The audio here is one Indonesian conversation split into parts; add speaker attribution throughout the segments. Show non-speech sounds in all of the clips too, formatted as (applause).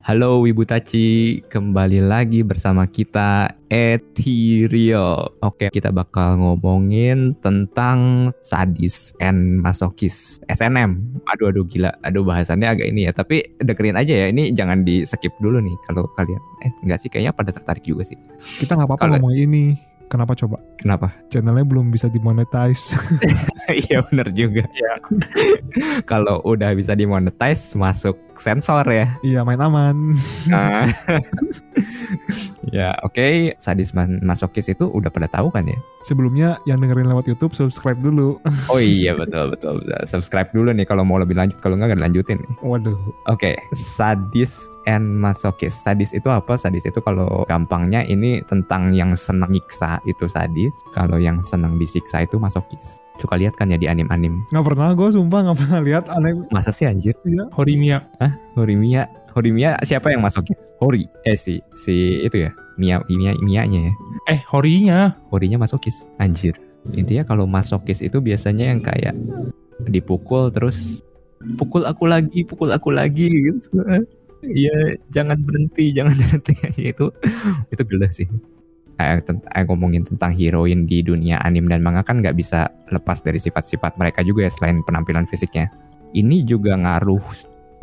Speaker 1: Halo Wibu Taci, kembali lagi bersama kita Ethereal. Oke, kita bakal ngomongin tentang sadis and masokis SNM. Aduh aduh gila, aduh bahasannya agak ini ya, tapi dengerin aja ya. Ini jangan di skip dulu nih kalau kalian eh enggak sih kayaknya pada tertarik juga sih.
Speaker 2: Kita nggak apa-apa
Speaker 1: Kalau-
Speaker 2: ngomong ini. Kenapa coba?
Speaker 1: Kenapa? (laughs)
Speaker 2: Channelnya belum bisa dimonetize. (laughs)
Speaker 1: Iya bener juga. (laughs) kalau udah bisa dimonetize masuk sensor ya.
Speaker 2: Iya main aman.
Speaker 1: Nah. (laughs) ya oke sadis man- masokis itu udah pada tahu kan ya
Speaker 2: Sebelumnya yang dengerin lewat YouTube subscribe dulu. (laughs)
Speaker 1: oh iya betul betul, betul. subscribe dulu nih kalau mau lebih lanjut kalau nggak nggak dilanjutin nih.
Speaker 2: Waduh.
Speaker 1: oke sadis and masokis sadis itu apa sadis itu kalau gampangnya ini tentang yang senang nyiksa itu sadis kalau yang senang disiksa itu masokis suka lihat kan ya di anim anim
Speaker 2: Nggak pernah gue sumpah nggak pernah lihat aneh.
Speaker 1: masa sih anjir
Speaker 3: Horimia.
Speaker 1: Horimia Horimia siapa yang masokis Hori eh si si itu ya Mia Mia Mianya ya
Speaker 3: Eh, horinya.
Speaker 1: horinya masokis anjir intinya kalau masokis itu biasanya yang kayak dipukul terus pukul aku lagi pukul aku lagi gitu Iya, jangan berhenti, jangan (laughs) berhenti. Iya, itu itu gila sih. Eh, tent- eh, ngomongin tentang heroin di dunia anime dan manga kan nggak bisa lepas dari sifat-sifat mereka juga ya selain penampilan fisiknya. Ini juga ngaruh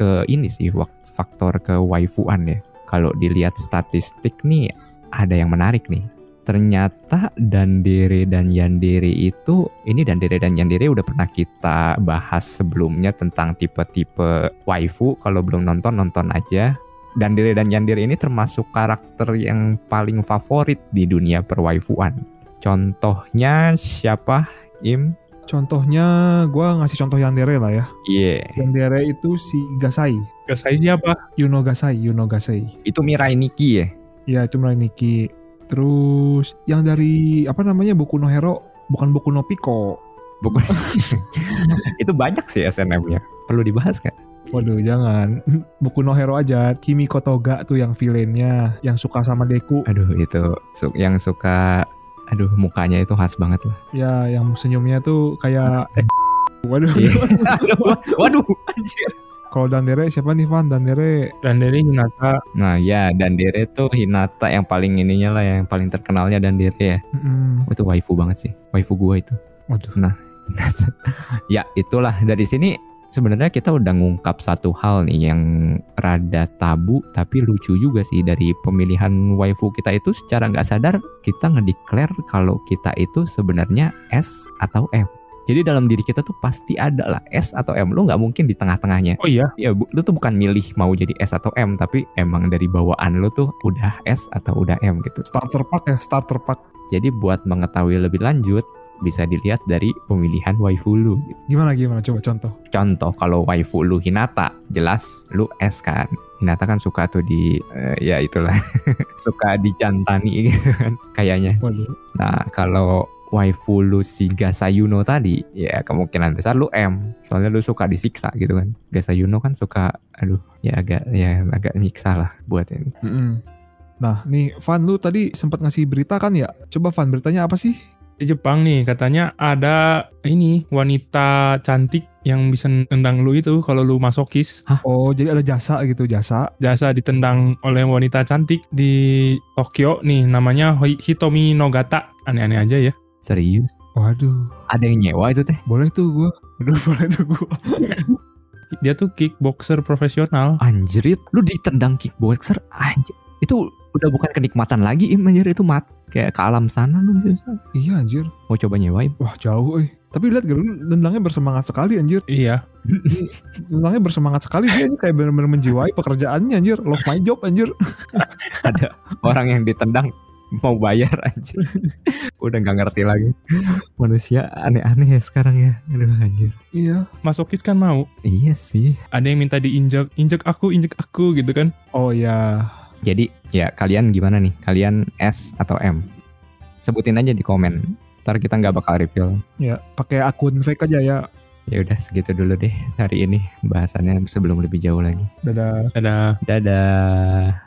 Speaker 1: ke ini sih wak- faktor ke waifuan ya. Kalau dilihat statistik nih ada yang menarik nih. Ternyata Dandere dan Yandere itu ini Dandere dan Yandere udah pernah kita bahas sebelumnya tentang tipe-tipe waifu. Kalau belum nonton nonton aja. Dandere dan Yandere ini termasuk karakter yang paling favorit di dunia perwaifuan. Contohnya siapa? Im?
Speaker 2: Contohnya gue ngasih contoh Yandere lah ya.
Speaker 1: Iya.
Speaker 2: Yandere itu si Gasai.
Speaker 3: Gak saya siapa?
Speaker 2: Yuno Gasai. Yuno Gasai.
Speaker 1: Itu Mirai Nikki ya?
Speaker 2: Ya itu mulai Niki. Terus yang dari apa namanya Boku no Hero bukan Boku no Pico.
Speaker 1: Buku- itu banyak sih SNM-nya. Perlu dibahas kan?
Speaker 2: Waduh jangan. (laughs) Boku no Hero aja. Kimiko Toga tuh yang villainnya yang suka sama Deku.
Speaker 1: Aduh itu su- yang suka aduh mukanya itu khas banget lah.
Speaker 2: Ya, yang senyumnya tuh (laughs) kayak eh, Waduh.
Speaker 1: Iya. (laughs) Waduh, anjir.
Speaker 2: Kalau Dandere siapa nih Van? Dandere
Speaker 3: Dan dari Hinata.
Speaker 1: Nah ya Dandere tuh Hinata yang paling ininya lah yang paling terkenalnya Dandere ya.
Speaker 2: mm,
Speaker 3: Hmm.
Speaker 1: Oh, itu waifu banget sih. Waifu gua itu. Nah,
Speaker 2: Waduh.
Speaker 1: (laughs) ya itulah dari sini sebenarnya kita udah ngungkap satu hal nih yang rada tabu tapi lucu juga sih dari pemilihan waifu kita itu secara nggak sadar kita ngedeklar kalau kita itu sebenarnya S atau M. Jadi dalam diri kita tuh pasti ada lah S atau M. Lu nggak mungkin di tengah-tengahnya.
Speaker 3: Oh iya.
Speaker 1: Ya, bu- lu tuh bukan milih mau jadi S atau M, tapi emang dari bawaan lu tuh udah S atau udah M gitu.
Speaker 2: starter pack ya, starter pack.
Speaker 1: Jadi buat mengetahui lebih lanjut bisa dilihat dari pemilihan waifu lu.
Speaker 2: Gimana gimana coba contoh.
Speaker 1: Contoh kalau waifu lu Hinata, jelas lu S kan. Hinata kan suka tuh di eh, ya itulah (laughs) suka dijantani gitu kan kayaknya.
Speaker 2: Waduh.
Speaker 1: Nah, kalau waifu lu si Gasayuno tadi, ya kemungkinan besar lu M. Soalnya lu suka disiksa gitu kan. Gasayuno kan suka aduh, ya agak ya agak nyiksa lah buat ini.
Speaker 2: Mm-mm. Nah, nih Van lu tadi sempat ngasih berita kan ya? Coba Van beritanya apa sih?
Speaker 3: Di Jepang nih katanya ada ini wanita cantik yang bisa tendang lu itu kalau lu masokis.
Speaker 2: Oh, jadi ada jasa gitu, jasa.
Speaker 3: Jasa ditendang oleh wanita cantik di Tokyo nih namanya Hoi- Hitomi Nogata. Aneh-aneh aja ya.
Speaker 1: Serius?
Speaker 2: Waduh.
Speaker 1: Ada yang nyewa itu teh?
Speaker 2: Boleh tuh gua. Waduh, (laughs) boleh tuh gua.
Speaker 3: Dia tuh kickboxer profesional.
Speaker 1: Anjrit, lu ditendang kickboxer anjir. Itu udah bukan kenikmatan lagi, Im anjir itu mat kayak ke alam sana lu bisa.
Speaker 2: iya anjir.
Speaker 1: Mau coba nyewain?
Speaker 2: Wah, jauh eh. Tapi lihat gak lu nendangnya bersemangat sekali anjir.
Speaker 3: Iya.
Speaker 2: Nendangnya bersemangat sekali dia ini kayak benar-benar menjiwai pekerjaannya anjir. Love my job anjir.
Speaker 1: Ada (laughs) orang yang ditendang mau bayar anjir. (laughs) udah nggak ngerti lagi. Manusia aneh-aneh ya sekarang ya. Aduh anjir.
Speaker 2: Iya.
Speaker 3: Masokis kan mau.
Speaker 1: Iya sih.
Speaker 3: Ada yang minta diinjak, injek aku, injek aku gitu kan.
Speaker 2: Oh ya,
Speaker 1: Jadi ya kalian gimana nih? Kalian S atau M? Sebutin aja di komen. Ntar kita nggak bakal reveal.
Speaker 2: ya pakai akun fake aja ya.
Speaker 1: Ya udah segitu dulu deh hari ini bahasannya sebelum lebih jauh lagi.
Speaker 2: Dadah.
Speaker 3: Ada
Speaker 1: Dadah.